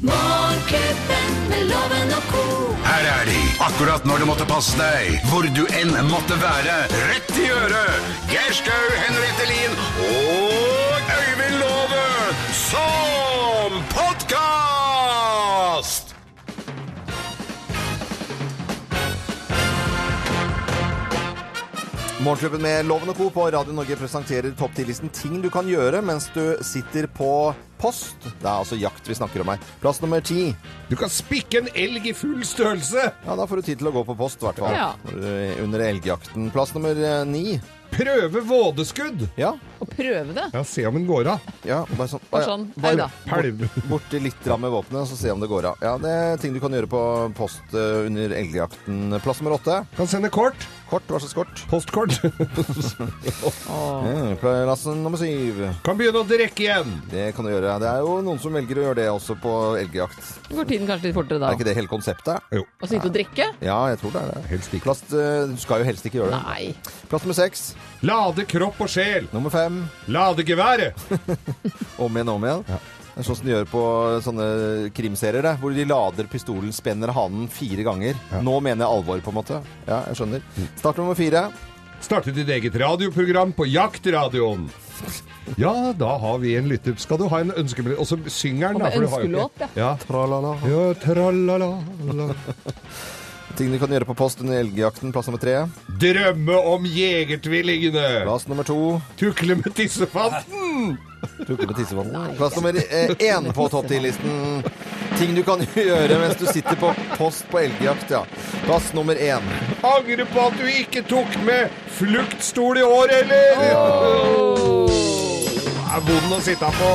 Morgenklubben med loven og ko. Her er de, akkurat når du måtte passe deg, hvor du enn måtte være. Rett i øret! Geir Skau, Henriette Lien og Øyvind Låve som podkast! Morgenklubben med Loven og Co. på Radio Norge presenterer topp 10-listen ting du kan gjøre mens du sitter på post. Det er altså jakt vi snakker om her. Plass nummer ti. Du kan spikke en elg i full størrelse! Ja, da får du tid til å gå på post, i hvert fall. Ja. Når du- Under elgjakten. Plass nummer eh, ni. Prøve vådeskudd! Ja. Og prøve det. Ja, se om den går av. ja bare sånn. Bare sånn. Bare Nei da. Pælm. borti litt rann med våpenet, så se om det går av. Ja, det er ting du kan gjøre på post eh, under elgjakten. Plass nummer åtte. Kan sende kort. Kort. Hva slags kort? Postkort. Mm, Plass nummer syv. Kan begynne å drikke igjen. Det kan du gjøre. Det er jo noen som velger å gjøre det også på elgjakt. Går tiden kanskje litt fortere Er ikke da? det hele konseptet? Jo. Og sitte og drikke? Ja, jeg tror det er det. Helst ikke. Plast, eh, du skal jo helst ikke gjøre det. Nei. Plass nummer seks. Lade kropp og sjel. Nummer fem. Lade geværet. Om igjen, om igjen. Det er sånn som de gjør på sånne krimserier, det, hvor de lader pistolen, spenner hanen fire ganger. Nå mener jeg alvor, på en måte. Ja, jeg skjønner. Start nummer fire. Starte ditt eget radioprogram på Jaktradioen. Ja, da har vi en lytter. Skal du ha en ønskemelding? Og så synger den, Og da. med for du har jo ikke- ønskelåt, ja. Tralala. Ja, tralala. Ting du kan gjøre på post under elgjakten. Plass nummer tre. Drømme om jegertvillingene. Plass nummer to. Tukle med tissefanten. Tukle med tissevann. Plass nummer eh, én på topp 10-listen. Ting du kan gjøre mens du sitter på post på elgjakt, ja. Plass nummer én. Angre på at du ikke tok med fluktstol i år, eller? Det er vond å sitte på.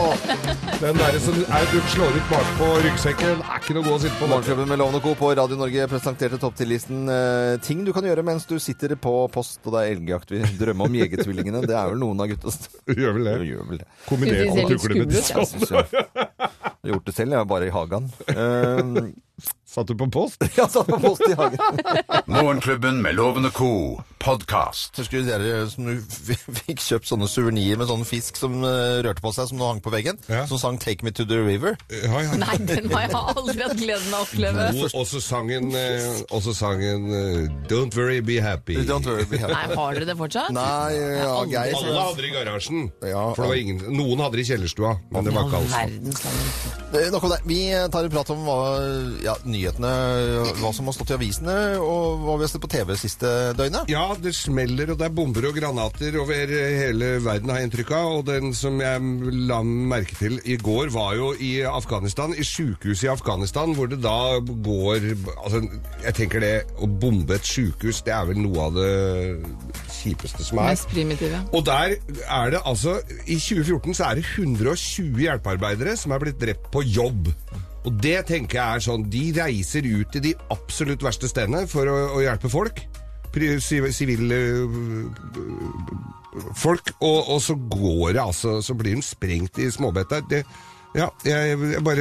Den der som er, du slår ut bakpå ryggsekken, er ikke noe god å sitte på. Morgen. Morgenklubben med Lovende Co. på Radio Norge presenterte topp 10-listen eh, ting du kan gjøre mens du sitter på post, og det er elgjakt. Vi drømmer om jegertvillingene. Det er vel noen av gutta som Gjør vel det. gjør vel det. Kombinere Synes de ser litt tukler med skumle ut, tissefanten. Jeg synes jeg jeg har gjort det selv, jeg, bare i hagen. Eh, Satt du på post? jeg satt på post i hagen. Morgenklubben med Loven og Co. podkast. Husker du dere eh, som du fikk kjøpt sånne suvenirer med sånn fisk som rørte på seg, som nå hang på veggen? Ja. Som sang 'Take me to the river'? Ja, ja. Nei, den har jeg aldri hatt gleden av å oppleve. Og så sangen, eh, og så sangen eh, Don't worry, be happy. Nei, har dere det fortsatt? Nei, ja, aldri Geir. Alle hadde det i garasjen. Ja, for det var ingen, noen hadde det i kjellerstua, men det var ikke alle. Verdens land. Eh, Nok om det. Vi tar en prat om hva, ja, nyhetene, hva som har stått i avisene, og hva vi har sett på TV siste døgnet. Ja, det smeller, og det er bomber og granater over hele verden, har jeg inntrykk av. Og den som jeg la merke til i går, var jo i Afghanistan, i sjukehuset i Afghanistan, hvor det da går Altså, jeg tenker det å bombe et sjukehus, det er vel noe av det kjipeste som er. Mest primitive. Og der er det altså I 2014 så er det 120 hjelpearbeidere som er blitt drept på jobb. Og det tenker jeg er sånn De reiser ut til de absolutt verste stedene for å, å hjelpe folk. Pri- si- Sivile øh, folk. Og, og så går det altså Så blir de sprengt i småbett der. Det, ja, jeg, jeg bare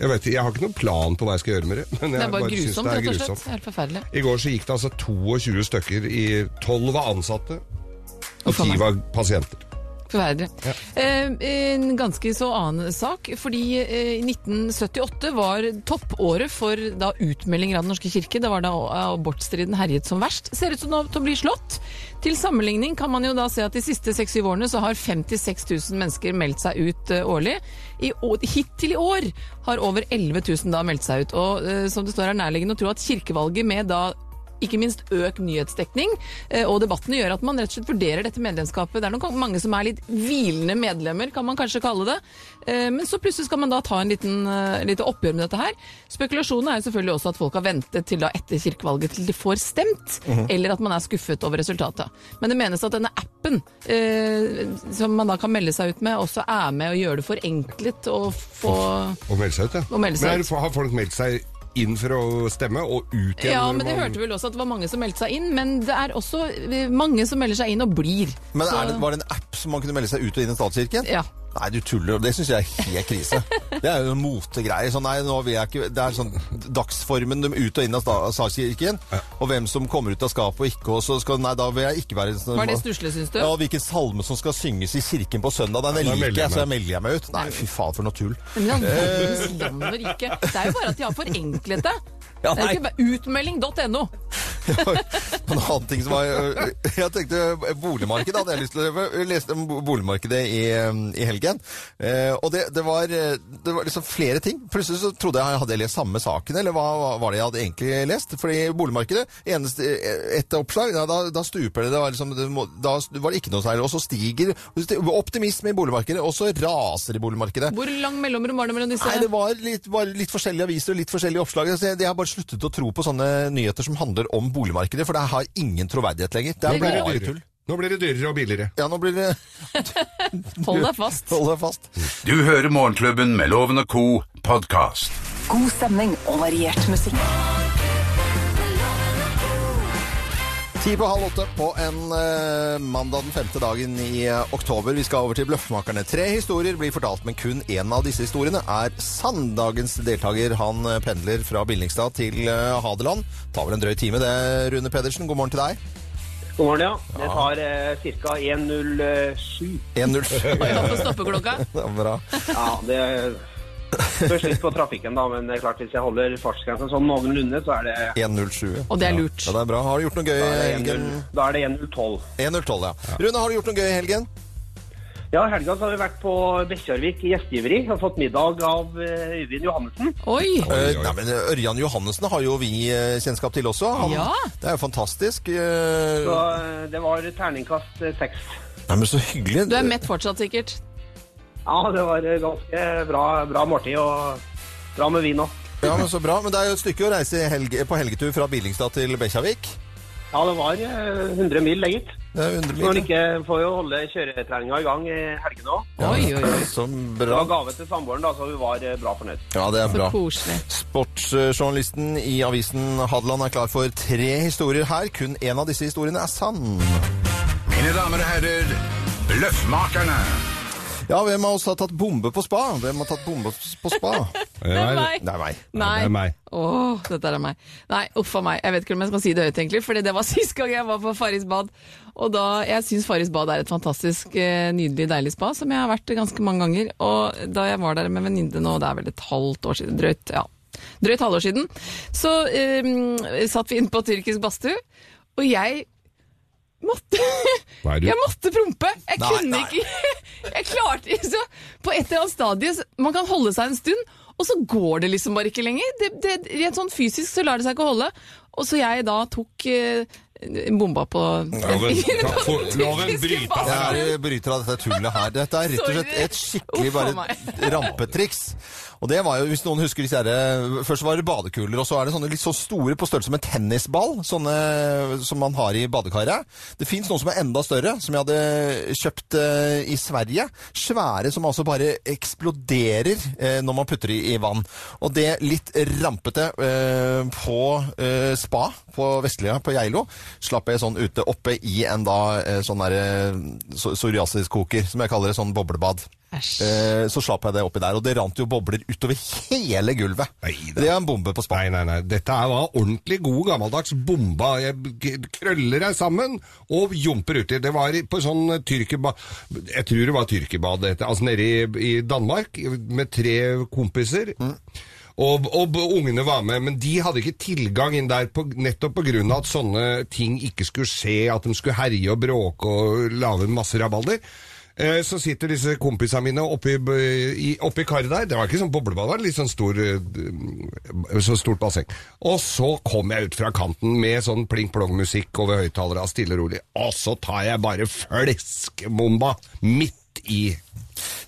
jeg, vet, ikke, jeg har ikke noen plan på hva jeg skal gjøre med det. Men jeg Det er bare synes grusomt, rett og slett. Helt forferdelig. i går så gikk det altså 22 stykker i 12 var ansatte, og Uff a 10 meg. var pasienter. Forferdelig. Eh, en ganske så annen sak, fordi eh, i 1978 var toppåret for da utmeldinger av Den norske kirke. Det var da eh, abortstriden herjet som verst. Ser ut som nå til å bli slått. Til sammenligning kan man jo da se at de siste 6-7 årene så har 56 000 mennesker meldt seg ut eh, årlig. I, å- hittil i år har over 11 000 da meldt seg ut. Og eh, som det står er nærliggende å tro at kirkevalget med da ikke minst økt nyhetsdekning, eh, og debattene gjør at man rett og slett vurderer dette medlemskapet. Det er nok mange som er litt hvilende medlemmer, kan man kanskje kalle det. Eh, Men så plutselig skal man da ta en liten, eh, lite oppgjør med dette her. Spekulasjonen er jo selvfølgelig også at folk har ventet til da etter kirkevalget til de får stemt, eller at man er skuffet over resultatet. Men det menes at denne appen eh, som man da kan melde seg ut med, også er med og gjør det forenklet å få Og melde seg ut, ja. Og melde seg Men ut. er, har folk meldt seg inn for å stemme, og ut igjen? Ja, når men det man- hørte vi vel også at det var mange som meldte seg inn, men det er også eh, mange som melder seg inn og blir. Men Så- er det, var det en app som man kunne melde seg ut og inn i statskirken? Ja. Nei, du tuller. Det syns jeg er helt krise. Det er jo en motegreie. Sånn, nei, nå vil jeg ikke Det er sånn dagsformen de ut og inn av sta- statskirken, og hvem som kommer ut av skapet og ikke, og så skal Nei, da vil jeg ikke være sånn- Var det stusslig, syns du? Ja, og hvilken salme som skal synges i kirken på søndag. Den da liker melder jeg jeg, så meg. jeg melder jeg meg ut. Nei, fy faen, for noe tull. Men han Eh. gjennomgår ikke. Det er jo bare at de har forenklet det. Det Ja, er jo nei. ikke bare utmelding.no. Og en annen ting som var øh, Jeg tenkte boligmarkedet hadde jeg lyst til å Jeg leste om boligmarkedet i, øh, i helgen. Eh, og det, det, var, øh, det var liksom flere ting. Plutselig så trodde jeg hadde jeg lest samme saken, eller hva hva var det jeg hadde egentlig lest? Fordi boligmarkedet, eneste, eh, ett oppslag, ja, da, da stuper det. det var liksom, det må, da var det ikke noe særlig. Og så stiger optimisme i boligmarkedet, og så raser i boligmarkedet. Hvor lang mellomrom var det mellom disse? Nei, det var litt, var litt forskjellige aviser og litt forskjellige oppslag. Så jeg, jeg har bare sluttet å tro på sånne nyheter som handler om boligmarkedet, for det har ingen troverdighet lenger. Det Det er går bare Dyrere. tull. Nå blir det dyrere og billigere. Ja, nå blir det Hold deg fast. Hold deg fast. Du hører Morgenklubben med Loven og Co. podkast. God stemning og variert musikk. Ti på halv åtte på en eh, mandag den femte dagen i eh, oktober. Vi skal over til Bløffmakerne. Tre historier blir fortalt, men kun én av disse historiene er sann. Dagens deltaker han eh, pendler fra Billingstad til eh, Hadeland. Tar vel en drøy time det, Rune Pedersen. God morgen til deg. God morgen, ja. Det tar eh, ca. 1.07. 1-0. Stoppe stoppeklokka. Det er Bra. Ja, det spørs litt på trafikken, da, men det er klart hvis jeg holder fartsgrensen sånn noenlunde, så er det 1-0-7. Og det er lurt. Ja, det er bra. Har du gjort noe gøy i da er det helgen? 1.0 da er det 1.012. 1-0-12, ja. Rune, har du gjort noe gøy i helgen? Ja, i helga så har vi vært på Bekkjarvik i gjestgiveri og fått middag av eh, Øyvind Johannessen. Oi! Eh, nei, men eh, Ørjan Johannessen har jo vi eh, kjennskap til også. Han, Ja. Det er jo fantastisk. eh, Så eh, det var terningkast eh, seks. Nei, men så hyggelig. Du er mett fortsatt, sikkert. Ja, det var eh, ganske bra, bra måltid og bra med vin òg. Ja, men så bra. Men det er jo et stykke å reise i helge, på helgetur fra Billingstad til Bekkjarvik. Ja, det var eh, 100 mil, det, gitt. Det er 100 Man mil. ikke får jo holde kjøretreninga i gang i helgene òg. Oi, oi, oi. Så Det bra. var gave til samboeren, da, så vi var eh, bra fornøyd. Ja, det er Så bra. koselig. Sportsjournalisten i avisen Hadeland er klar for tre historier her. Kun én av disse historiene er sann. Mine damer og herrer, Bløffmakerne. Ja, hvem av oss har tatt bombe på spa? Hvem har tatt bombe på spa? Det er Nei, meg. Det er meg. Nei. det er meg. Åh, dette er meg. Nei, uff a meg. Jeg vet ikke om jeg skal si det høyt, egentlig, fordi det var sist gang jeg var på Farris bad. Og da, Jeg syns Farris bad er et fantastisk eh, nydelig, deilig spa, som jeg har vært ganske mange ganger. Og da jeg var der med en venninne nå, det er vel et halvt år siden, drøyt, ja. Drøyt halvår siden, så eh, satt vi inne på tyrkisk badstue, og jeg måtte Hva er du? Jeg måtte prompe! Jeg Nei, kunne nei. ikke Jeg klarte ikke så På et eller annet stadie så- Man kan holde seg en stund, og så går det liksom bare ikke lenger. Det, det, rent sånn fysisk så lar det seg ikke holde. Og så jeg da tok eh, bomba på Loven, ta- for- loven, Tyrkiske bryt av. basen. Jeg bryter av dette tullet her. Dette er rett og slett et skikkelig Sorry. bare Uff a rampetriks. Og det var jo, hvis noen husker disse herre Først var det badekuler, og så er det sånne litt så store på størrelse med tennisball. Sånne eh, som man har i badekaret. Det fins noen som er enda større, som jeg hadde kjøpt eh, i Sverige. Svære som altså bare eksploderer eh, når man putter i, i vann. Og det litt rampete eh, på eh, spa på Vestlia, på Geilo, slapp jeg sånn ute oppe i en da eh, sånn derre so psoriasiskoker, som jeg kaller det, sånn boblebad. Æsj. Eh, så slapp jeg det oppi der, og det rant jo bobler utover hele gulvet. Nei da. det er en bombe på spa. Nei, nei, nei. Dette er var ordentlig god gammeldags bomba. Jeg k- krøller deg sammen og jumper uti. Det var i- på sånn tyrkebad Jeg tror det var tyrkebad, det heter. Altså nede i, i Danmark med tre kompiser. Og, og b- ungene var med, men de hadde ikke tilgang inn der på, nettopp pga. at sånne ting ikke skulle skje, at de skulle herje og bråke og lage masse rabalder. Eh, Så sitter disse kompisene mine oppi, b- i, oppi karet der. Det var ikke sånn boblebad, det var litt sånn stor, eh, d- så stort basseng. Og så kom jeg ut fra kanten med sånn pling-plong-musikk over høyttalere, stille og rolig. Og så tar jeg bare fleskbomba midt i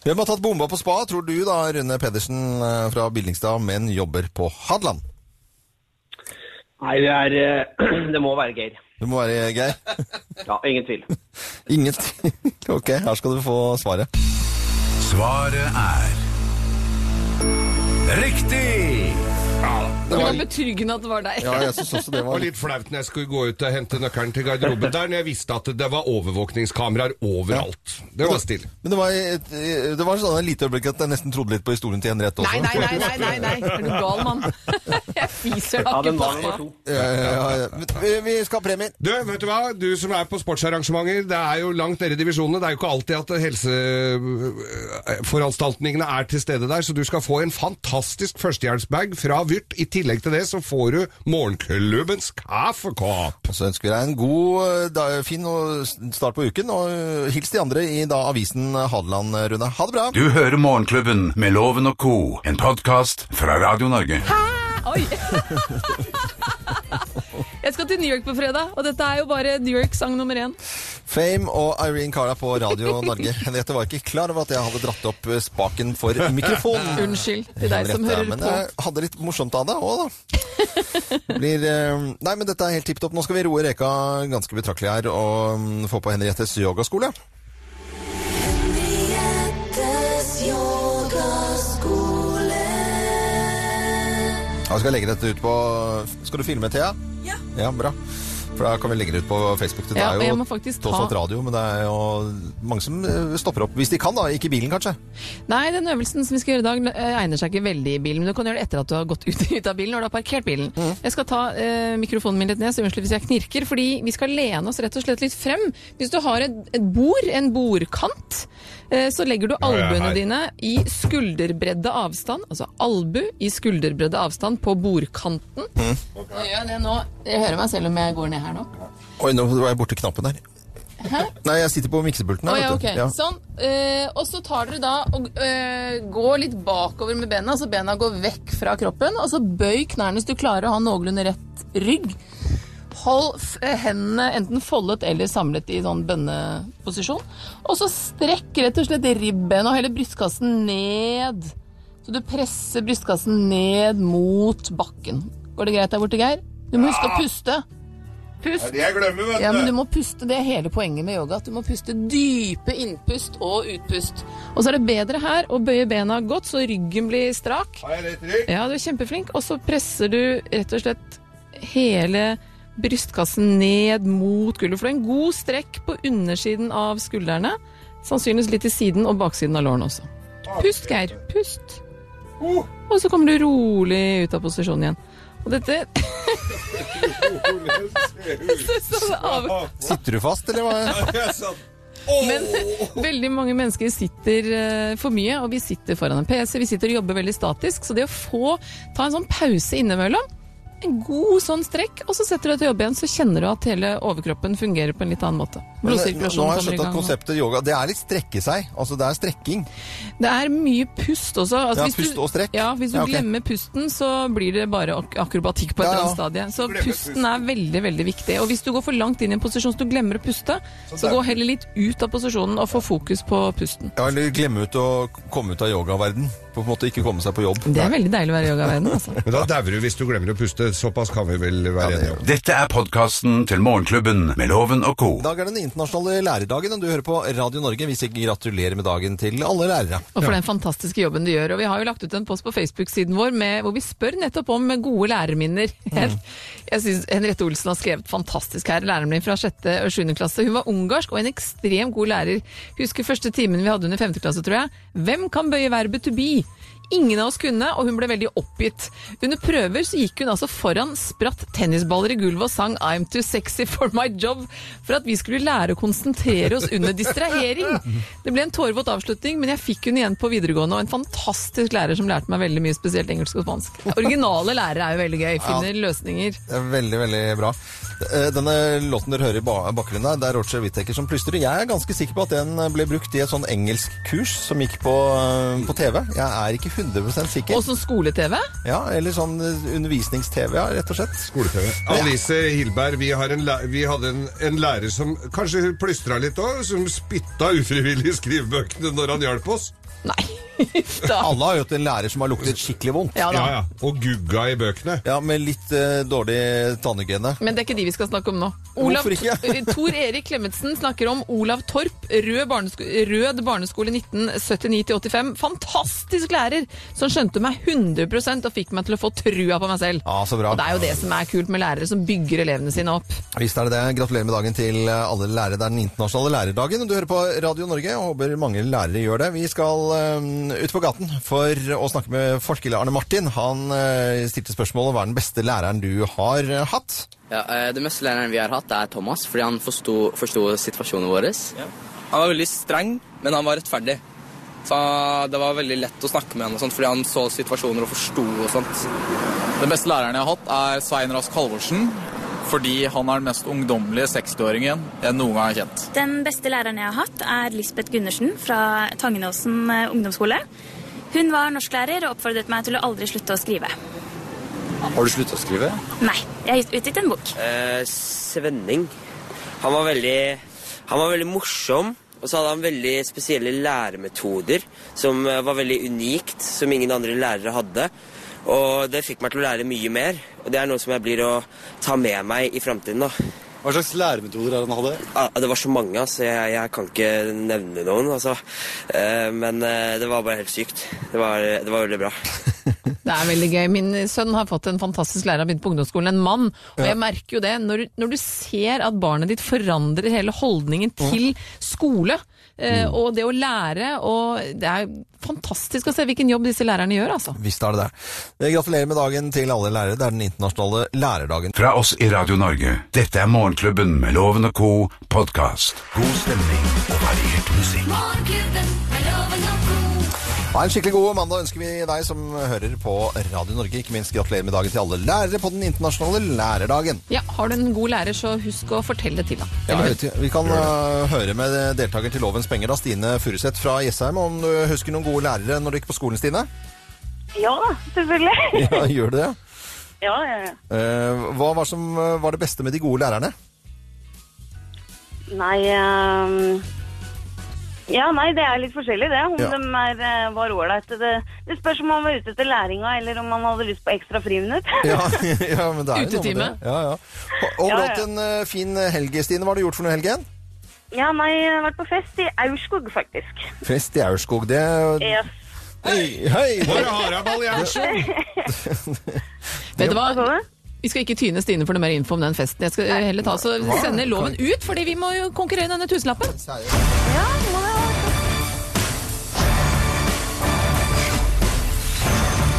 Hvem har tatt bomba på spa, tror du da, Rune Pedersen eh, fra Billingstad, men jobber på Hadeland? Nei, det, er, eh, det må være Geir. Det må være Geir. Ja, ingen tvil. Ingen tvil. Ok, her skal du få svaret. Svaret er Riktig! Det var var betryggende at det var deg. Ja, jeg synes også det Det var var litt flaut når jeg skulle gå ut og hente nøkkelen til garderoben der, når jeg visste at det var overvåkningskameraer overalt. Det var stille. Men det var, et, det var sånn et lite øyeblikk at jeg nesten trodde litt på historien til Henriette også. Nei, nei, nei, nei, nei, nei. Er du gal, mann? Jeg fiser da Ja, ikke den på var nummer to. Ja, ja, ja. Vi, vi skal ha premier. Du, vet du hva? Du som er på sportsarrangementer, det er jo langt nede i divisjonene. Det er jo ikke alltid at helseforanstaltningene er til stede der, så du skal få en fantastisk førstehjelpsbag fra Vyrt. I tillegg til det så får du morgenklubbens kaffekopp. Og Så ønsker vi deg en god, eh, da, fin og s- start på uken, og eh, hils de andre i da avisen Hadeland, eh, Rune. Ha det bra! Du hører Morgenklubben med Loven og Co., en podkast fra Radio Norge. Oi! Jeg skal til New York på fredag, og dette er jo bare New York sang nummer én. Fame og Irene Cara på Radio Norge. Henriette var ikke klar over at jeg hadde dratt opp eh, spaken for mikrofonen. Unnskyld til deg som Henriette, hører men på. jeg hadde litt morsomt av det òg, da. Blir, eh, nei, men dette er helt tipp topp. Nå skal vi roe reka ganske betraktelig her og mm, få på Henriettes yogaskole. Ja, skal jeg legge dette ut på Skal du filme, Thea? Ja. ja bra. For da kan vi legge det ut på Facebook. Det Ja, og er jeg jo må faktisk tross ta- alt radio, men det er jo mange som eh, stopper opp. Hvis de kan, da. Ikke i bilen, kanskje. Nei, den øvelsen som vi skal gjøre i dag eh, egner seg ikke veldig i bilen, men du kan gjøre det etter at du har gått ut, ut av bilen, når du har parkert bilen. Jeg skal ta eh, mikrofonen min litt ned, så unnskyld hvis jeg knirker, fordi vi skal lene oss rett og slett litt frem. Hvis du har et, et bord, en bordkant, eh, så legger du er jeg albuene her. dine i skulderbredde avstand, altså albu i skulderbredde avstand på bordkanten. Nå gjør jeg det nå. Jeg hører meg selv om jeg går ned her nå. Oi, nå var jeg borti knappen der. Nei, jeg sitter på miksepulten Å her. ja, vet ok. du. Ja. Sånn. Eh, og så tar dere da og eh, går litt bakover med bena, så bena går vekk fra kroppen. Og så bøy knærne hvis du klarer å ha noenlunde rett rygg. Hold f eh, hendene enten foldet eller samlet i sånn bønneposisjon. Og så strekk rett og slett ribben og hele brystkassen ned. Så du presser brystkassen ned mot bakken. Går det greit der borte, Geir? Du må huske å puste. Pust. Jeg glemmer, vet Ja, men du må puste. Det er hele poenget med yoga. At du må puste dype innpust og utpust. Og så er det bedre her å bøye bena godt, så ryggen blir strak. Har jeg rett rygg? Ja, du er kjempeflink. Og så presser du rett og slett hele brystkassen ned mot gulvet. For det er en god strekk på undersiden av skuldrene. Sannsynligvis litt i siden og baksiden av lårene også. Pust, Geir. Pust. Og så kommer du rolig ut av posisjon igjen. Og dette Sånn av... Sitter du fast, eller hva? sånn. Men veldig mange mennesker sitter eh, for mye, og vi sitter foran en PC, vi sitter og jobber veldig statisk, så det å få ta en sånn pause innimellom, en god sånn strekk, og så setter du deg til jobb igjen, så kjenner du at hele overkroppen fungerer på en litt annen måte. Men, eh, Nå nå har jeg kommer i skjønt at gang, og- konseptet yoga Det er litt strekke seg. Altså, det er strekking. Det er mye pust også. Altså, Ja, hvis pust du, og strekk. Ja, hvis du Ja, ok. glemmer pusten, så blir det bare ak akrobatikk på et Ja, eller ja. annet stadie. Så pusten er veldig, veldig viktig. Og hvis du går for langt inn i en posisjon så du glemmer å puste, så, gå heller litt ut av posisjonen og få fokus på pusten. Ja, eller glemme ut å komme ut av yogaverden. På en måte ikke komme seg på jobb. Det er veldig deilig å være i yogaverdenen, altså. Men da dauer du hvis du glemmer å puste. Såpass kan vi vel være enige om. Dette er podkasten til Morgenklubben med Loven og Co. I dag er den internasjonale lærerdagen, og du hører på Radio Norge. Vi sier gratulerer med dagen til alle lærere. Og for den fantastiske jobben du gjør. Og vi har jo lagt ut en post på Facebook-siden vår med, hvor vi spør nettopp om gode lærerminner. Jeg, jeg synes Henriette Olsen har skrevet fantastisk her. Læreren min fra 6. og 7. klasse. Hun var ungarsk og en ekstremt god lærer. Husker første timen vi hadde under 5. klasse, tror jeg. Hvem kan bøye verbet to be? Ingen av oss kunne, og hun ble veldig oppgitt. Under prøver så gikk hun altså foran, spratt tennisballer i gulvet og sang I'm too sexy for my job, for at vi skulle lære å konsentrere oss under distrahering. Det ble en tårevåt avslutning, men jeg fikk hun igjen på videregående, og en fantastisk lærer som lærte meg veldig mye, spesielt engelsk og spansk. Originale lærere er jo veldig gøy, finner løsninger. Det er veldig, veldig bra. Eh, Denne låten dere hører i ba- bakgrunnen der, det er Roger Whittaker som plystrer. Jeg er ganske sikker på at den ble brukt i et sånn engelskkurs som gikk på, eh, på TV. Jeg er ikke 100 sikker. Og som skole-TV? Ja, eller sånn eh, undervisnings-TV, ja, rett og slett. Skole-TV. Alice Hilberg, vi, har en læ- vi hadde en, en lærer som kanskje plystra litt òg, som spytta ufrivillig i skrivebøkene når han hjalp oss. Nei. Da. Alle har jo hatt en lærer som har luktet skikkelig vondt. Ja da. Ja, ja. Og gugga i bøkene. Ja, med litt eh, dårlig tannhygiene. Men det er ikke de vi skal snakke om nå. Olav, eh, Hvorfor ikke? Tor Erik Klemetsen snakker om Olav Torp, rød, barnesko rød barneskole 1979-85. Fantastisk lærer som skjønte meg 100 og fikk meg til å få trua på meg selv. Ja, så bra. Og det er jo det som er kult med lærere som bygger elevene sine opp. Visst er det det. Gratulerer med dagen til eh, alle lærere. Det er den internasjonale lærerdagen. Du hører på Radio Norge og håper mange lærere gjør det. Vi skal eh, ut på gaten for å snakke med forsker Arne Martin. Han eh, stilte spørsmålet hva er den beste læreren du har eh, hatt? Ja, eh, Den beste læreren vi har hatt, er Thomas, fordi han forsto, forsto situasjonen vår. Han var veldig streng, men han var rettferdig. Så eh, Det var veldig lett å snakke med han fordi han så situasjoner og forsto. og sånt. Den beste læreren jeg har hatt, er Svein Rask Halvorsen. Fordi han er den mest ungdommelige 60-åringen jeg noen gang har kjent. Den beste læreren jeg har hatt, er Lisbeth Gundersen fra Tangenåsen eh, ungdomsskole. Hun var norsklærer og oppfordret meg til å aldri slutte å skrive. Har du sluttet å skrive? Nei, jeg har utgitt en bok. Eh, Svenning. Han var veldig Han var veldig morsom. Og så hadde han veldig spesielle læremetoder som eh, var veldig unikt, som ingen andre lærere hadde. Og det fikk meg til å lære mye mer, og det er noe som jeg blir å ta med meg i framtiden. da. Hva slags læremetoder er det han hadde? det var så mange, altså. Jeg, jeg kan ikke nevne noen. altså. Eh, Men eh, det var bare helt sykt. Det var, det var veldig bra. Det er veldig gøy. Min sønn har fått en fantastisk lærer, han begynte på ungdomsskolen, en mann. Og jeg merker jo det, når, når du ser at barnet ditt forandrer hele holdningen til skole, eh, og det å lære, og det er fantastisk å se hvilken jobb disse lærerne gjør, altså. Visst er det det. Eh, Gratulerer med dagen til alle lærere. Det er den internasjonale lærerdagen. Fra oss i Radio Norge, dette er Morgenklubben med Loven og Co. podkast. God stemning og variert musikk. Morgenklubben med Loven og co. Ha en skikkelig god mandag ønsker vi deg som hører på Radio Norge. Ikke minst gratulerer med dagen til alle lærere på den internasjonale lærerdagen. Ja, har du en god lærer, så husk å fortelle det til ham. Ja, jeg vet ikke. vi kan øh, høre med deltaker til Lovens penger, da, Stine Furuseth fra Jessheim, om du husker noen gode lærere når du gikk på skolen, Stine? Ja da, selvfølgelig. Ja, gjør du det? Ja, ja, ja. Eh, hva var, som, øh, var det beste med de gode lærerne? Nei ehm, Ja, nei, det er litt forskjellig, det. Om Ja. de er, eh, var ålreite. Det, det spørs om man var ute etter læringa, eller om man hadde lyst på ekstra friminutt. Ja, ja men det er jo noe med det. Utetime. Ja, ja. Ho- Hold Ja, ja. hatt en øh, fin helg, Stine. Hva har du gjort for noe i helgen? Ja, nei, jeg har vært på fest i Aurskog, faktisk. Fest i Aurskog. Det Yes. Hei, hei! Hvor er Haraball i Aurskog? Vet du hva? Vi skal ikke tyne Stine for noe mer info om den festen. Jeg skal eh, heller ta så Hva? sende loven ut, fordi vi må jo konkurrere om denne tusenlappen.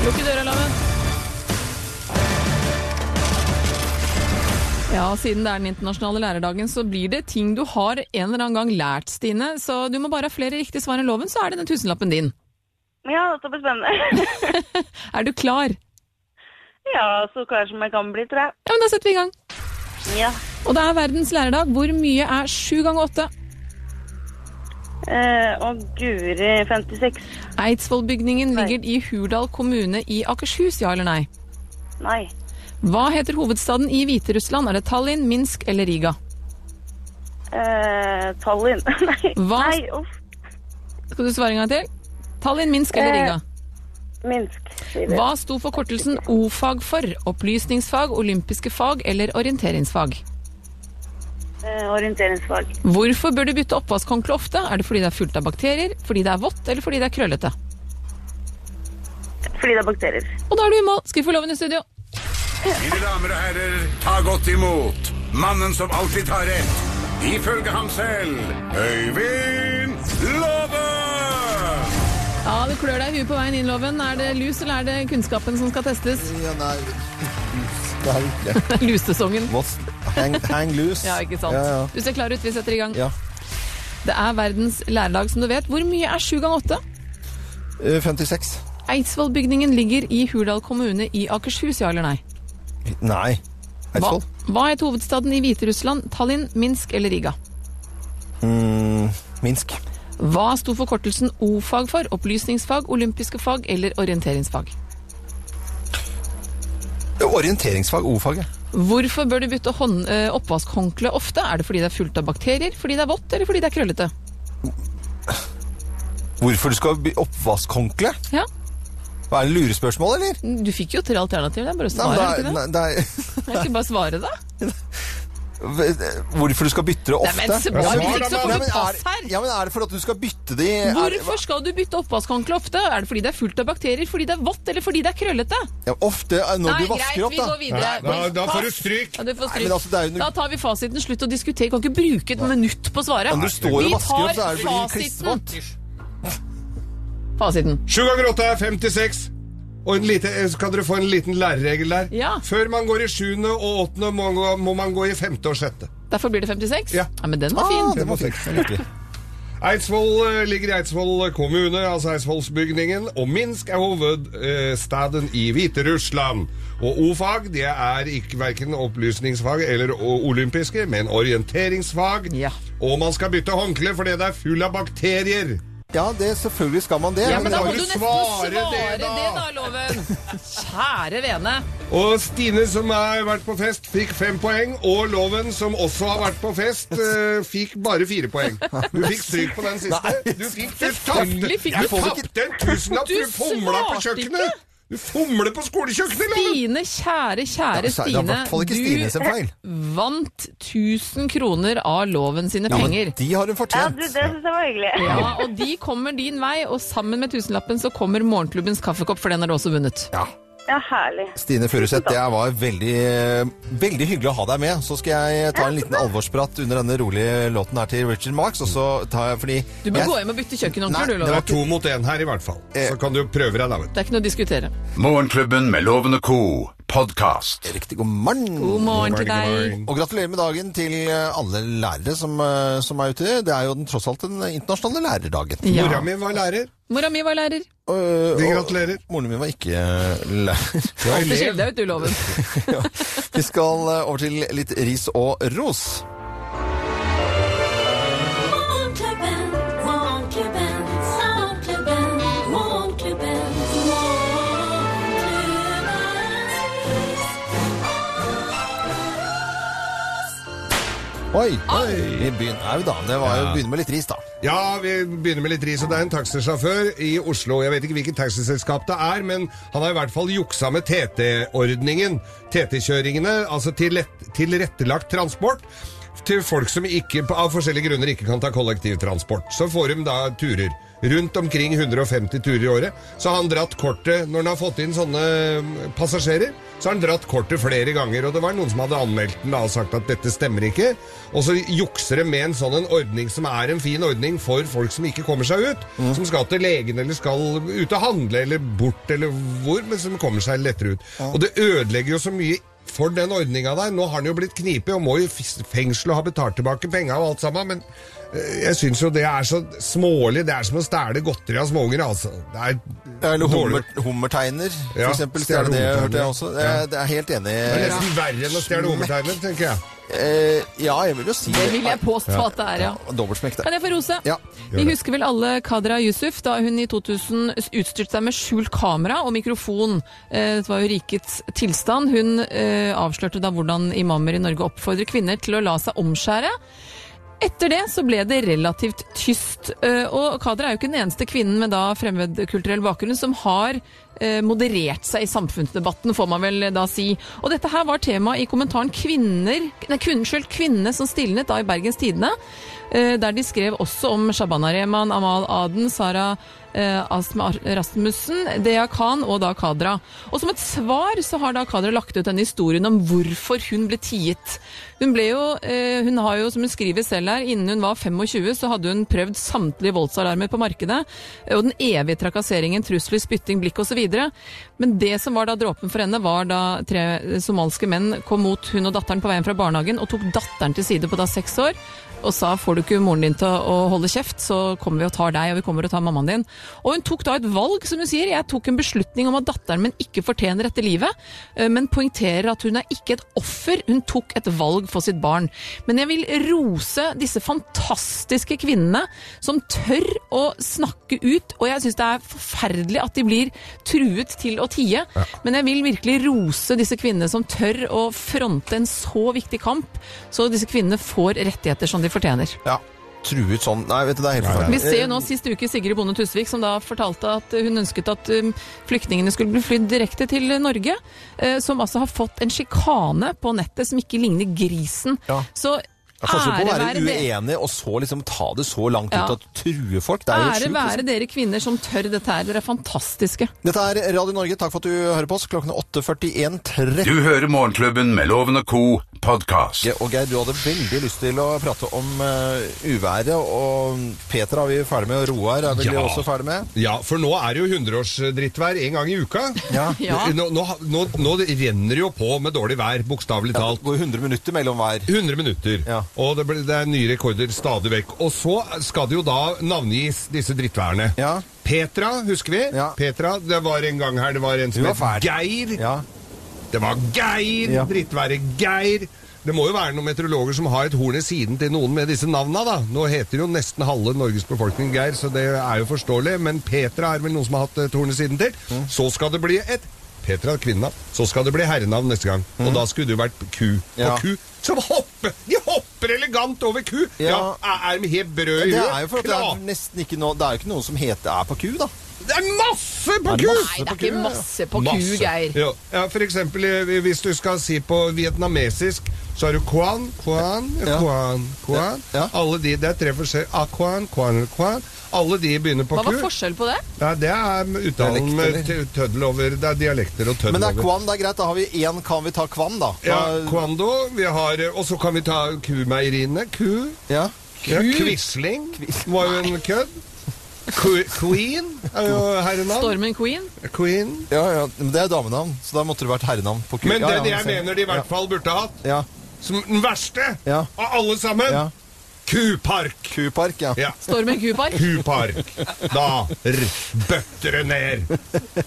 Lukk døra, Loven. Ja, siden det er den internasjonale lærerdagen, så blir det ting du har en eller annen gang lært, Stine. Så du må bare ha flere riktige svar enn loven, så er det den tusenlappen din. Ja, dette blir spennende. Er du klar? ja, så kanskje man kan bli, tror jeg. Ja, men da setter vi i gang. Ja. Og det er verdens lærerdag. Hvor mye er sju ganger åtte? Eh, og guri 56. Eidsvollbygningen ligger i Hurdal kommune i Akershus, ja eller nei? Nei. Hva heter hovedstaden i Hviterussland? Er det Tallinn, Minsk eller Riga? Eh, Tallinn. nei. Hva- nei, uff. Skal du svare en gang til? Tallinn, Minsk eller Eh, Riga? Minsk. sier vi. Hva sto forkortelsen O-fag for? Opplysningsfag, olympiske fag eller orienteringsfag? Eh, orienteringsfag. Hvorfor bør du bytte oppvaskhåndkle ofte? Er det fordi det er fullt av bakterier, fordi det er vått eller fordi det er krøllete? Fordi det er bakterier. Og da er du i mål. Skal vi få loven i studio? Mine damer og herrer, ta godt imot mannen som alltid tar rett, ifølge ham selv, Øyvind Låve! Ja, du klør deg i huet på veien inn, loven. Er det lus eller er det kunnskapen som skal testes? Ja, nei. Det er jo ikke Lussesongen. Hang, hang loose. Ja, ikke sant. Ja, ja. Du ser klar ut. Vi setter i gang. Ja. Det er verdens lærerdag, som du vet. Hvor mye er sju ganger åtte? Eh, 56. Eidsvollbygningen ligger i Hurdal kommune i Akershus, ja eller nei? Nei. Hva, Eidsvoll? hva het hovedstaden i Hviterussland? Tallinn, Minsk eller Riga? Mm, Minsk. Hva sto forkortelsen O-fag for? Opplysningsfag, olympiske fag eller orienteringsfag? Eh, Orienteringsfag, O-faget. Hvorfor bør du bytte hånd, eh, oppvaskhåndkle ofte? Er det fordi det er fullt av bakterier, fordi det er vått eller fordi det er krøllete? Hvorfor du skal by- oppvaskhåndkle? Ja. Hva Er det lurespørsmål, eller? Du fikk jo tre alternativer, det er bare å Nei, svare, men ikke det? det er- nei, det er- Jeg skal bare svare det. v- Hvorfor du skal bytte det Nei, ofte? men Sebastian, Ja, det er ikke så men plass er, ja, men er det for at du skal bytte de er- Hvorfor skal du bytte oppvaskhåndkle ofte? Er det fordi det er fullt av bakterier, fordi det er vått, eller fordi det er krøllete? ja, Ofte eh, når Nei, du vasker greit, opp, vi da. går videre. Ja, du får Nei, stryk. men altså, det er jo Da tar vi fasiten. Slutt å diskutere. Kan ikke bruke et minutt på å svare. Ja, men du står og vi vasker tar opp, så er det blir fasiten. Fasiten. Sju ganger åtte er 56. Og en lite, eh, kan dere få en liten læreregel der? Før man går i sjuende og åttende, må, man gå- må man gå i femte og sjette. Derfor blir det 56? Ja. men den Ah, var fin. den var fin. Den likte vi. Eidsvoll eh, ligger i Eidsvoll kommune, altså Eidsvollsbygningen, og Minsk er hovedstaden i Hviterussland. Og O-fag, det er ikke verken opplysningsfag eller o- olympiske, men orienteringsfag. Og man skal bytte håndkle fordi det er full av bakterier. Ja, det, selvfølgelig skal man det. Ja, men da må kan du nesten svare det, da, Loven. Kjære vene. Og Stine, som har vært på fest, fikk fem poeng. Og Loven, som også har vært på fest, eh, fikk bare fire poeng. Du fikk stryk på den siste. Du fikk du Selvfølgelig tapte fikk du du ikke- tapte en tusenlapp! Du Du fomla på svarte ikke. kjøkkenet! Du fomler på skolekjøkkenet, Loven! Stine, kjære, Ja, kjære så er det i Stine. hvert fall ikke Stine sin feil. Du vant 1000 kroner av loven sine Ja, men penger. de har hun Ja, du, det syns jeg var hyggelig. Ja, og de kommer din vei, og sammen med tusenlappen så kommer morgenklubbens kaffekopp, for den har du også vunnet. Ja. Ja, herlig. Stine Furuseth, det var veldig, veldig hyggelig å ha deg med. Så skal jeg ta en liten alvorsprat under denne rolige låten her til Richard Marks. Og så tar jeg, fordi Du bør jeg, gå hjem og bytte Nei, kjøkkenhåndkle, du, det var Loven. To mot én her, i hvert fall. Eh. Så kan du prøve deg, da. vet du. Det er ikke noe å diskutere. Morgenklubben med Loven og co. podkast. Riktig god morgen. God morgen til deg. Og gratulerer med dagen til eh, alle lærere som, eh, som er ute. Det er jo den, tross alt den internasjonale lærerdagen. Ja. Mora mi var lærer. Mora mi var lærer. Vi gratulerer. Moren min var ikke eh, lærer. Alltid skjell deg ut, du, Loven. Vi skal eh, over til litt ris og ros. Morgenklubben, morgenklubben, morgenklubben, morgenklubben, morgenklubben. Oi! Vi begynner au da. Det var jo Ja. begynner med litt ris, da. Ja, vi begynner med litt ris. og Det er en taxisjåfør i Oslo. Jeg vet ikke hvilket taxiselskap det er, men han har i hvert fall juksa med TT-ordningen. TT-kjøringene, altså tilrett- tilrettelagt transport. Til folk som ikke, av forskjellige grunner ikke kan ta kollektivtransport. Så får de da turer. Rundt omkring 150 turer i året. Så har han dratt kortet Når han har fått inn sånne mm, passasjerer, så har han dratt kortet flere ganger. Og det var noen som hadde anmeldt den da og sagt at dette stemmer ikke. Og så jukser de med en sånn en ordning som er en fin ordning for folk som ikke kommer seg ut. Som skal til legen eller skal ut og handle eller bort eller hvor, men som kommer seg lettere ut. Og det ødelegger jo så mye for den ordninga der. Nå har han jo blitt knipet og må i fis- fengsel og ha betalt tilbake penga og alt sammen, men eh, jeg syns jo det er så smålig. Det er som å stjele godteri av småunger, altså. Det er Eller dårlig. hummer, hummerteiner, Ja, for eksempel. stjele Stjerne det, hummerteiner. hørte jeg også. Det Ja. er, det er helt enig. Det er nesten verre enn å stjele hummerteiner, tenker jeg. Eh, ja, jeg vil jo si Det vil jeg påstå at det er, ja. Dobbeltsmekk, Kan det. jeg få rose? Ja, gjør Vi det. husker vel alle Kadra Yusuf da hun i 2000 utstyrte seg med skjult kamera og mikrofon. Eh, Dette var jo rikets tilstand. Hun eh, avslørte da hvordan imamer i Norge oppfordrer kvinner til å la seg omskjære. Etter det så ble det relativt tyst, eh, og Kadra er jo ikke den eneste kvinnen med da fremmedkulturell bakgrunn som har eh, moderert seg i samfunnsdebatten, får man vel da si. Og dette her var tema i kommentaren kvinner, nei, kvinner, skyld, kvinnene som stilnet da i Bergens Tidende, eh, der de skrev også om Shabana Rehman, Amal Aden, Sara eh, Asma Ar- Rasmussen, Dea Khan og da Kadra. Og som et svar så har da Kadra lagt ut denne historien om hvorfor hun ble tiet. Hun ble jo, eh, hun har jo, som hun skriver selv her, innen hun var 25 så hadde hun prøvd samtlige voldsalarmer på markedet, eh, og den evige trakasseringen, trusler, spytting, blikk osv. Men det som var da dråpen for henne, var da tre eh, somaliske menn kom mot hun og datteren på veien fra barnehagen og tok datteren til side på da seks år, og sa får du ikke moren din til å å holde kjeft, så kommer vi og tar deg, og vi kommer og tar mammaen din. Og hun tok da et valg, som hun sier. Jeg tok en beslutning om at datteren min ikke fortjener dette livet, eh, men poengterer at hun er ikke et offer, hun tok et valg for sitt barn. Men jeg vil rose disse fantastiske kvinnene som tør å snakke ut, og jeg syns det er forferdelig at de blir truet til å tie, men jeg vil virkelig rose disse kvinnene som tør å fronte en så viktig kamp, så disse kvinnene får rettigheter som de fortjener. Ja. truet sånn Nei, vet du, det er helt Vi forferdelig. ser jo nå sist uke Sigrid Bonde Tusvik som da fortalte at hun ønsket at um, flyktningene skulle bli flydd direkte til Norge, eh, som altså har fått en sjikane på nettet som ikke ligner grisen. Så Det er forskjell ære på å være være det. uenig og så liksom ta det så langt ut Ja. at du truer folk. Det er jo Ære sjukt. altså. være dere kvinner som tør dette her. Dere er fantastiske. Dette er Radio Norge, takk for at du hører på oss. Klokken er 8.41.30. Du hører Morgenklubben med Loven og Co. podkast. Og Geir, du hadde veldig lyst til å prate om eh, uværet, og Peter er vi ferdig med, og Roar er vel Ja. også ferdig med? Ja, for nå er det jo hundreårsdrittvær en gang i uka. Ja. Nå, nå, nå, nå renner det jo på med dårlig vær, bokstavelig talt. det går 100 minutter mellom hver. 100 minutter. Og det, blir- det er nye rekorder stadig vekk. Og så skal det jo da navngis disse drittværene. Petra, husker vi? Petra, Det var en gang her det var en som Hun var het fæl. Geir. Det var Geir! Ja. Drittværet Geir! Det må jo være noen meteorologer som har et horn i siden til noen med disse navna, da. Nå heter jo nesten halve Norges befolkning Geir, så det er jo forståelig. Men Petra er vel noen som har hatt et horn i siden til. Så skal det bli et Petra er kvinnenavn. Så skal det bli herrenavn neste gang. Og da skulle det jo vært ku. Mm. Ja. Og ku som hopper! De hopper elegant over ku! Ja, Ja. Er de helt brø i Det huet? er jo for at det Kna- er nesten ikke noe Det er jo ikke noen som heter er på ku, da. Det er masse på Er det ku! masse Nei, det er på ku, ikke ja? masse på ku, Geir. Ja. ja, for eksempel eh, hvis du skal si på vietnamesisk, så har du kwan, kwan, Ja. kwan, kwan. Alle de, det er tre forskjellige Akwan, kwan, kwan. Alle de begynner på Hva var ku. forskjellen på det? Ja, det er med uttalen Dialekter, med eller? t- tøddel over. Det er dialekter og tøddel Men det er over. kvan, det er greit. Da har vi én kan vi ta kvan, da. Ja, Da- Kwando. Vi har, eh, og så kan vi ta kumeieriene. Ku. Ja. Ja, Ku. Quisling var jo en kødd. Ku- Queen er jo herrenavn. Stormen Queen? Queen. Ja, ja, men det er damenavn, så da måtte det vært herrenavn på ku. Men ja, den ja, jeg ser. mener de i hvert Ja. fall burde ha hatt, Ja. som den verste av alle sammen, Ja. Kupark. Kupark, ja. ja. Stormen Kupark? Kupark. Da r bøtter det ned.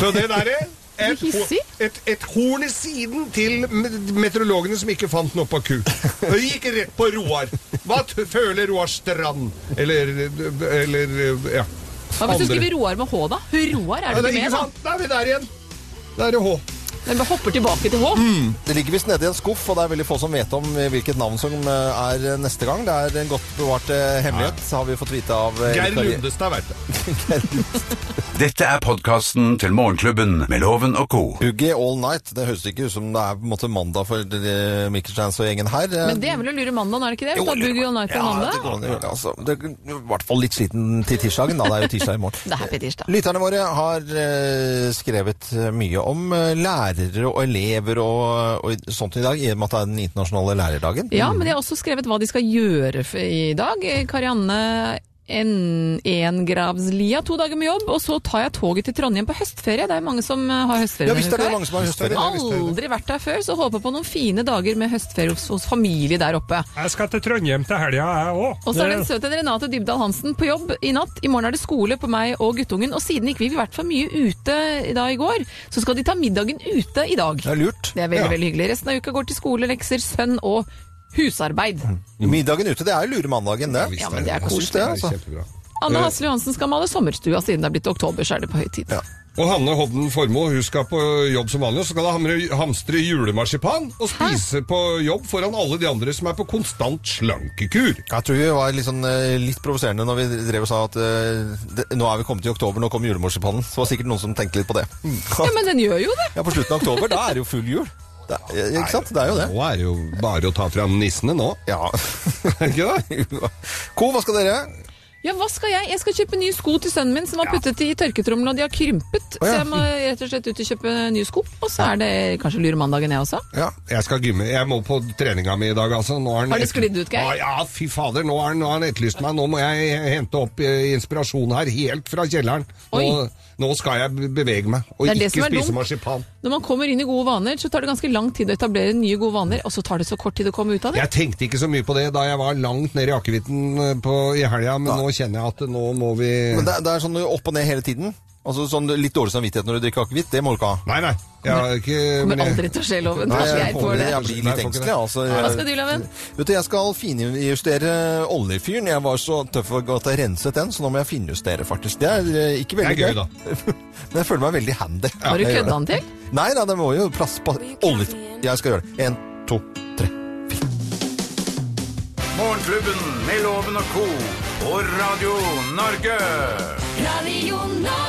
Så det derre et, ho- et, et horn i siden til me- meteorologene som ikke fant noe på ku. Det gikk rett på Roar. Hva t føler Roar Strand? Eller, eller ja. Hva hvis du Andre. skriver Roar med H, da? Roar er Ja, det det er ikke ikke med, sant. Da er vi der igjen. Da er det H. da. Den hopper tilbake til H. Det ligger visst nede i en skuff, og det er veldig få som vet om hvilket navn som eh, er neste gang. Det er en godt bevart eh, hemmelighet, har vi fått vite av eh, Geir Kari- Lundestad veit det. Dette er podkasten til Morgenklubben med Loven og Co. Boogie All Night. Det høres ikke ut som det er på en måte mandag for eh, Mikkel Steins og gjengen her. eh. Men det er vel å lure mandagen, er det ikke det? Hvis Jo, du har Boogie All Night på det mandag? går an å gjøre, altså. Det er I hvert fall litt sliten til tirsdagen, da. Det er jo tirsdag i morgen. Det er happy tirsdag. Lytterne våre har eh, skrevet mye om eh, lærere og elever og, og sånt i dag, i og med at det er den internasjonale lærerdagen. Ja, men de har også skrevet hva de skal gjøre f- i dag. Eh, Karianne en, Engravslia, to dager med jobb, og så tar jeg toget til Trondheim på høstferie. Det er mange som eh, har høstferie. Ja, visst denne er uka. det mange som har høstferie. Ja, visst er det. Aldri vært der før, så håper på noen fine dager med høstferie hos, hos familie der oppe. Jeg skal til Trondheim til helga, jeg òg. Og så er den søte Renate Dybdahl Hansen på jobb i natt. I morgen er det skole på meg og guttungen, og siden ikke vi i hvert fall mye ute da i går, så skal de ta middagen ute i dag. Det er lurt. Det er veldig, Ja. veldig hyggelig. Resten av uka går til skole, lekser, sønn og husarbeid. Middagen ute, det er jo lure mandagen, det. Ja, men det er Jeg syns koselig. det, altså. Anne Hasle Johansen skal male sommerstua siden det er blitt oktober, så er det på høy tid. Og Hanne Hovden Formoe hun skal på jobb som vanlig, og så skal hun hamre- hamstre julemarsipan og spise på jobb foran alle de andre som er på konstant slankekur. Jeg tror vi var litt, sånn, eh, litt provoserende når vi drev og sa at eh, det, nå er vi kommet i oktober, nå kommer julemarsipanen. Så var det sikkert noen som tenkte litt på det. Ja, men den gjør jo det! Ja, på slutten av oktober, da er det jo full jul. Det, er- ikke sant? Det er jo det. Nå er det jo bare å ta fram nissene nå. Ja. ikke det? Co, hva skal dere? Ja, hva skal jeg? Jeg skal kjøpe nye sko til sønnen min som var puttet i tørketrommelen, og de har krympet. Å, ja. Så jeg må rett og slett ut og kjøpe nye sko. Og så er det kanskje luremandagen jeg også. Jeg skal gymme. Jeg må på treninga mi i dag, altså. Nå han Har det et- sklidd ut, Geir? Ah, ja, fy fader. Nå har han, nå har han etterlyst meg. Nå må jeg hente opp eh, inspirasjon her, helt fra kjelleren. Oi. Nå, nå skal jeg be- bevege meg, og Det er det som ikke er spise dumt. marsipan. Når man kommer inn i gode vaner, så tar det ganske lang tid å etablere nye gode vaner, og så tar det så kort tid å komme ut av det. Jeg tenkte ikke så mye på det da jeg var langt nede i akevitten eh, på- i helga, men nå kjenner jeg at nå må vi Men det, det er sånn opp og ned hele tiden. Altså sånn Litt dårlig samvittighet når du drikker akevitt, det må du ikke ha. Nei, nei. Jeg har ikke Kommer men jeg- aldri til å skje loven. Nei, Kanskje jeg, jeg får håper- det. jeg blir litt Nei, jeg får ikke engstelig, det. altså. Hva skal du, Loven? Vet du, jeg skal finjustere oljefyren. Jeg var så tøff og godt har renset den, så nå må jeg finjustere, faktisk. Det er eh, ikke veldig Det er gøy, da. Men jeg føler meg veldig handy. Har du Jeg gjør kødda den det. til? Nei, nei, det må jo plass på olje... Jeg skal gjøre det. En, to, tre, fire. Morgenklubben med Loven og co. på Radio Norge. Radio Norge.